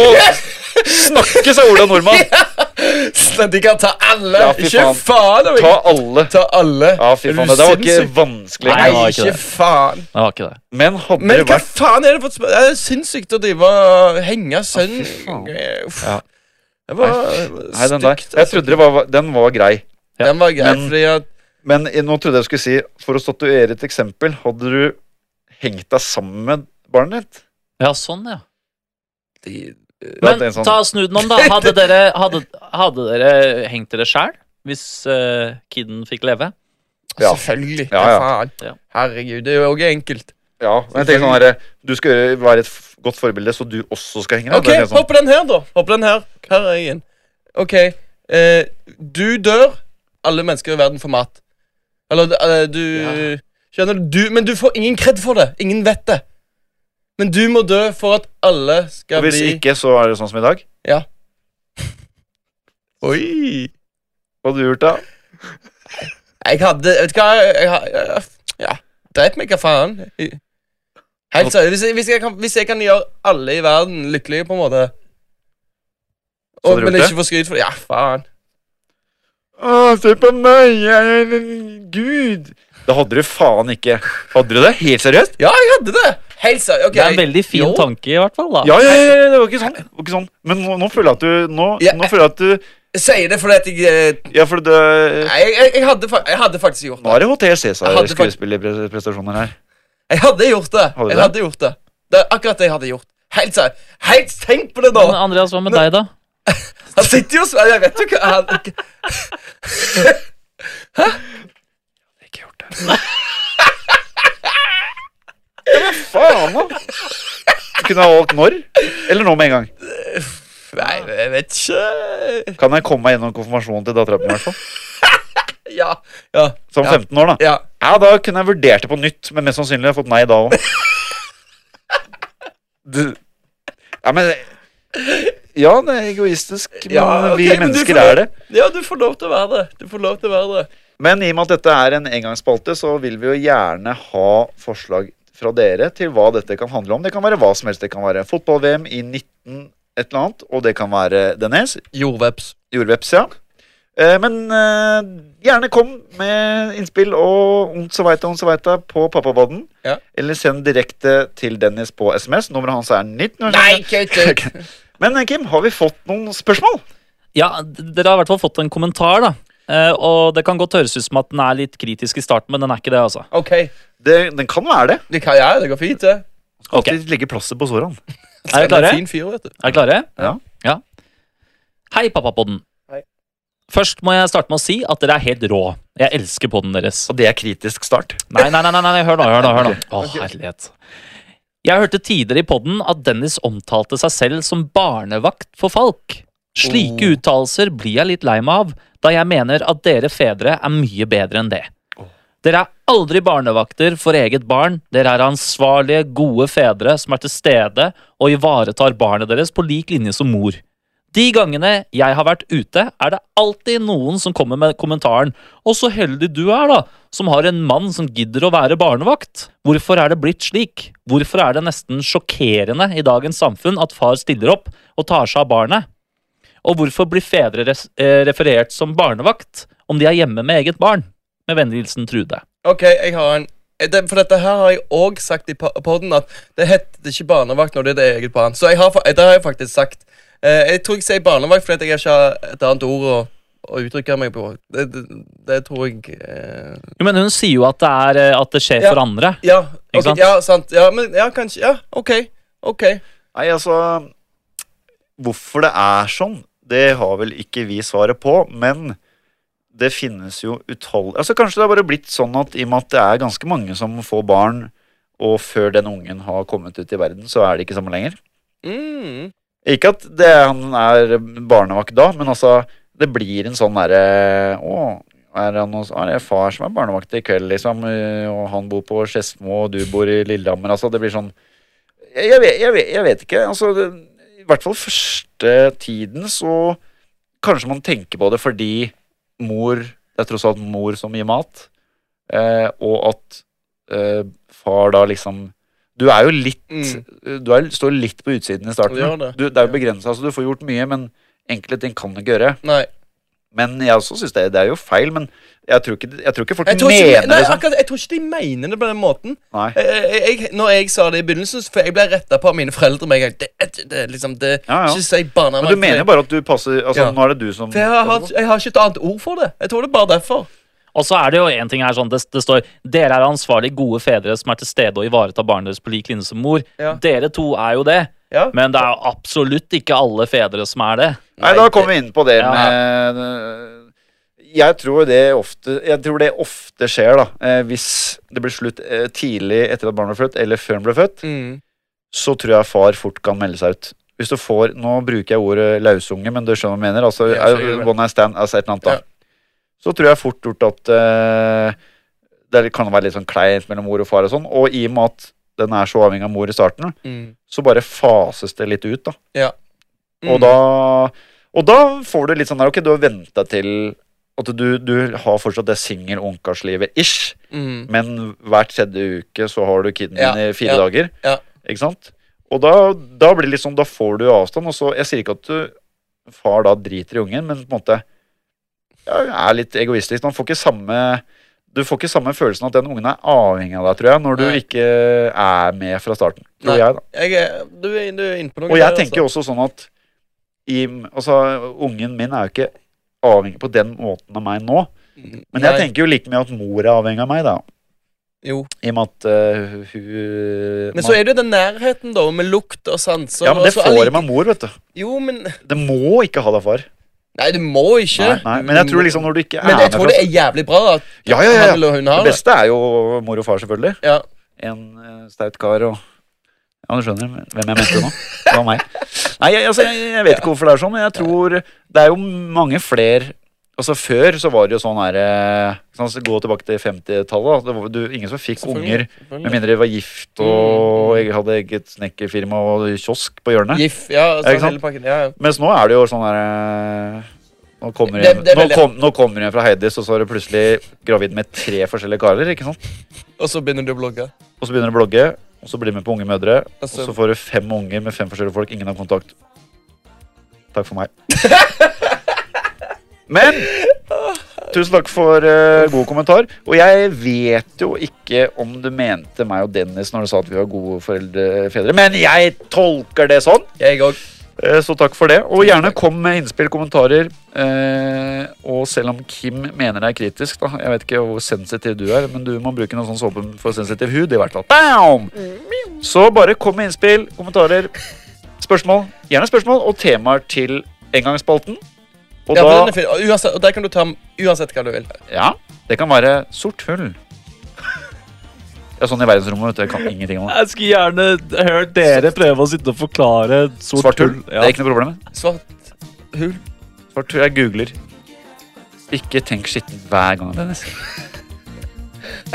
snakke, sa Ola Nordmann. Nei, De kan ta alle! Ja, fy ikke faen. faen! om jeg- Ta alle. ta alle. Ja, fy faen, Er du det der var ikke sinnssyk? vanskelig. Nei, det Nei, var ikke ikke det. faen. Det var ikke det. Men hadde Men det hva vært faen er det for et spørsmål? Det er sinnssykt å drive og henge sønn Eh, Uff. Ja. Det var Nei, den der. stygt. altså. Jeg trodde det var, den var grei. Den var grei, Men- fordi at Men i- nå trodde jeg jeg skulle si, for å statuere et eksempel, hadde du hengt deg sammen med barnet ditt? Ja, sånn, ja. de- Ja, Men det er sånn. ta snu den om, da. Hadde dere, hadde, hadde dere hengt dere sjæl hvis eh, kiden fikk leve? Ja. Selvfølgelig. Ja, Ja, ja. faen. Ja. Herregud, det er jo også enkelt. Ja, men jeg tenker sånn herre Du skal gjøre- være et f- godt forbilde, så du også skal henge deg. Ok, Det er sånn. hopp på den her, da. Hopp på den her. Her er jeg igjen. Ok, eh, du dør. Alle mennesker i verden får mat. Eller eh, du Ja. Skjønner du? du? Men du får ingen kred for det. Ingen vet det. Men du må dø for at alle skal Og hvis bli ikke, så er det sånn som i dag. Oi! Hva hadde du gjort da? Jeg hadde Vet du hva jeg, ha- jeg, Ja, drep meg, hva faen. Helt seriøst. Hvis, jeg- hvis, jeg kan- hvis jeg kan gjøre alle i verden lykkelige, på en måte Så og, hadde du Men gjort ikke få skryt for det. Ja, faen. Å, se på meg, jeg er en gud. Det hadde du faen ikke. Hadde du det? Helt seriøst? Ja, jeg hadde det! Helt seriøst. ok. Det er en veldig fin Jo. tanke, i hvert fall. da. Ja, ja, ja, ja, det var ikke sånn. Det var ikke sånn. Men nå, nå føler jeg at du Nå, Ja, nå føler jeg at du Jeg sier det fordi at jeg eh, Ja, for det Nei, jeg, jeg, jeg, hadde, fa- jeg hadde faktisk gjort Nå det. er det Hotel Jeg hadde fakt- Cæsar-skuespillerprestasjoner her. Jeg hadde gjort det. Hadde du Jeg det? hadde gjort det. Det er akkurat det jeg hadde gjort. Helt seriøst. Helt tenk på det, Men da! Andreas, hva med deg, da? Han sitter jo og Jeg vet jo hva han Ikke gjort det. Hva faen, da? Du kunne ha valgt når, eller nå med en gang. Nei, jeg vet ikke Kan jeg komme meg gjennom konfirmasjonen til dattera mi, i hvert fall? Ja. Ja. Som Ja. 15 år, da. ja. Ja, da kunne jeg vurdert det på nytt, men mest sannsynlig har jeg fått nei da òg. Ja, men Ja, det er egoistisk, men Ja, ok, vi men du mennesker får- er det. Ja, du får lov til å være det. Du får lov til å være det. Men i og med at dette er en engangsspalte, så vil vi jo gjerne ha forslag fra dere til hva dette kan handle om. Det kan være hva som helst. Det kan være fotball-VM i 19 et eller annet, og det kan være Dennis. Jordveps. Jordveps, ja. Eh, Men eh, gjerne kom med innspill og ondt så veita, ondt så veita på pappabodden. Ja. Eller send direkte til Dennis på SMS. Nummeret hans er 19. Nei, kutt ut! Men eh, Kim, har vi fått noen spørsmål? Ja, d- dere har i hvert fall fått en kommentar, da. Eh, og det kan godt høres ut som at den er litt kritisk i starten, men den er ikke det, altså. OK. Det, den kan være det. Det kan jeg. Det går fint, det. Ok, Alltid legge plasset på sårene. Er dere klare? En fin fyr, vet du. Er dere klare? Ja. Hei, pappapodden. Hei. Først må jeg starte med å si at dere er helt rå. Jeg elsker podden deres. Og det er kritisk start. Nei, nei, nei, nei, nei, hør nå, hør nå. hør nå. Å, herlighet. Jeg hørte tidligere i podden at Dennis omtalte seg selv som barnevakt for Falk. Slike Oh. uttalelser blir jeg litt lei meg av, da jeg mener at dere fedre er mye bedre enn det. Oh. Dere er aldri barnevakter for eget barn. Dere er ansvarlige, gode fedre som er til stede og ivaretar barnet deres på lik linje som mor. De gangene jeg har vært ute, er det alltid noen som kommer med kommentaren 'Å, så heldig du er, da, som har en mann som gidder å være barnevakt'. Hvorfor er det blitt slik? Hvorfor er det nesten sjokkerende i dagens samfunn at far stiller opp og tar seg av barnet? Og hvorfor blir fedre res eh, referert som barnevakt om de er hjemme med eget barn? Med vennlig hilsen Trude. Ok, jeg har en Eh, det, For dette her har jeg òg sagt i po- podden at det heter ikke barnevakt når det er det eget barn. Så jeg har, fa- det har jeg faktisk sagt. Eh, jeg tror jeg sier barnevakt fordi at jeg ikke har et annet ord å, å uttrykke meg på. Det, det, det tror jeg eh, Jo, men hun sier jo at det, er, eh, at det skjer Ja. for andre. Ja, Ikke ok, sant? ja, sant. Ja, men ja, kanskje Ja, OK. OK. Nei, altså Hvorfor det er sånn, det har vel ikke vi svaret på, men det finnes jo uthold... Altså Kanskje det har bare blitt sånn at i og med at det er ganske mange som får barn, og før den ungen har kommet ut i verden, så er det ikke sammen lenger. Mm. Ikke at det, han er barnevakt da, men altså Det blir en sånn derre Å, er det, noe, er det far som er barnevakt i kveld, liksom? eh, Og han bor på Skedsmo, og du bor i Lillehammer. Altså, det blir sånn Jeg, jeg, vet, jeg, vet, jeg vet ikke. Altså, det, i hvert fall første tiden så Kanskje man tenker på det fordi mor Det er tross alt mor som gir mat, eh, og at eh, far da liksom Du er jo litt Mm. Du er, står litt på utsiden i starten. Du gjør det. Du, det er jo begrensa, så du får gjort mye, men enkelte ting kan du ikke gjøre. Nei. Men jeg også synes det, det er jo feil, men jeg tror ikke, jeg tror ikke folk Jeg tror ikke, mener nei, det sånn. akkurat, jeg tror ikke de mener det på den måten. Nei. Jeg, jeg, jeg- når jeg sa det i begynnelsen, så- for jeg ble retta på av mine foreldre med en gang. Det, det, det, liksom, det, Ja, ja. Ikke si Men du barnevakt. mener jo bare at du passer Altså, Ja. nå er det du som For jeg har, jeg har ikke et annet ord for det. Jeg tror det er bare derfor. Og så er det jo en ting her sånn, det, det står Dere er ansvarlige, gode fedre som er til stede og ivaretar barnet deres på lik linje som mor. Ja. Dere to er jo det, Ja. men det er jo absolutt ikke alle fedre som er det. Nei, da kommer vi inn på det Ja. med eh, Jeg tror det ofte Jeg tror det ofte skjer, da. Eh, hvis det blir slutt eh, tidlig etter at barnet ble født, eller før han ble født, Mm. så tror jeg far fort kan melde seg ut. Hvis du får Nå bruker jeg ordet lausunge, men du skjønner hva jeg mener. Altså, Ja, jeg skjønner. eh, one night stand, altså et eller annet, da. Ja. Så tror jeg fort gjort at eh, det kan være litt sånn kleint mellom mor og far og sånn. Og i og med at den er så avhengig av mor i starten, Mm. så bare fases det litt ut, da. Mm. Og, da, og da får du litt sånn der Ok, du har venta til at du, du har fortsatt det singel-ungkarslivet ish, mm. men hver tredje uke så har du kiden Ja, din i fire ja, dager. ja. Ikke sant? Og da, da blir det litt sånn, da får du avstand. Og så, jeg sier ikke at du, far da driter i ungen, men på en måte ja, er litt egoistisk. Man får ikke samme du får ikke samme følelsen at den ungen er avhengig av deg, tror jeg, når du Nei. ikke er med fra starten. Tror Nei. altså. jeg, da. Jeg er, du, er, du er inne på noe. Og der, jeg tenker jo også sånn at i, altså, Ungen min er jo ikke avhengig på den måten av meg nå. Mm. Men Nei. jeg tenker jo like mye at mor er avhengig av meg, da. Jo. I og med at eh, hun Men så er det jo den nærheten, da, med lukt og sanser. Ja, men det og så får alle- jeg med mor, vet du. Jo, men Det må ikke ha deg far. Nei, du må ikke. Mm. Nei, nei. Men jeg tror liksom når du ikke er Men jeg med tror det er jævlig bra at Ja, ja, ja. han eller hun har Det det. beste er jo mor og far, selvfølgelig. Ja. En eh, staut kar og Ja, du skjønner hvem jeg mente nå. Det var meg. Nei, jeg, altså, jeg, jeg vet ikke hvorfor det er sånn, men jeg tror det er jo mange flere Altså Før så var det jo sånn her eh, sånn, så Gå tilbake til 50-tallet. da. Det var- du- Ingen som fikk unger Selvfølgelig, med selvfølgelig. mindre de var gift og jeg hadde eget snekkerfirma og kiosk på hjørnet. Gif, Mm. ja, Ja, sånn ikke sant? hele pakken. Ja, ja. Mens nå er det jo sånn her eh, Nå kommer Det- hun det er nå veldig- kom, nå kommer hun fra Heidis, og så er du plutselig gravid med tre forskjellige karer. ikke sant? Og så begynner du å blogge. Og så begynner du å blogge, og så blir du med på Unge mødre. Og Altså- så får du fem unger med fem forskjellige folk. Ingen har kontakt. Takk for meg. Men tusen takk for eh, god kommentar. Og jeg vet jo ikke om du mente meg og Dennis når du sa at vi var gode foreldre, fedre, men jeg tolker det sånn. Jeg òg. Eh, Så takk for det. Og gjerne kom med innspill, kommentarer. Eh, og selv om Kim mener det er kritisk, da Jeg vet ikke hvor sensitiv du er, men du må bruke noe sånn såpe for sensitiv hud, i hvert fall. Bam! Så bare kom med innspill, kommentarer, spørsmål. Gjerne spørsmål og temaer til engangsspalten. Og Ja, for den da er fin. Og uansett, og der kan du ta med uansett hva du vil. Ja, det kan være sort hull. Ja, sånn i verdensrommet, vet du. Jeg kan ingenting om det. Jeg skulle gjerne hørt dere prøve å sitte og forklare Svart hull, det er ikke noe problem. Svart hull. Svart hull. Jeg googler. Ikke tenk skitten hver gang. Dennis.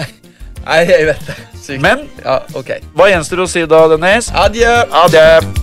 Nei, jeg vet det. Sykt. Men Ja, OK. hva gjenstår å si da, Dennis? Adjø. Ha det!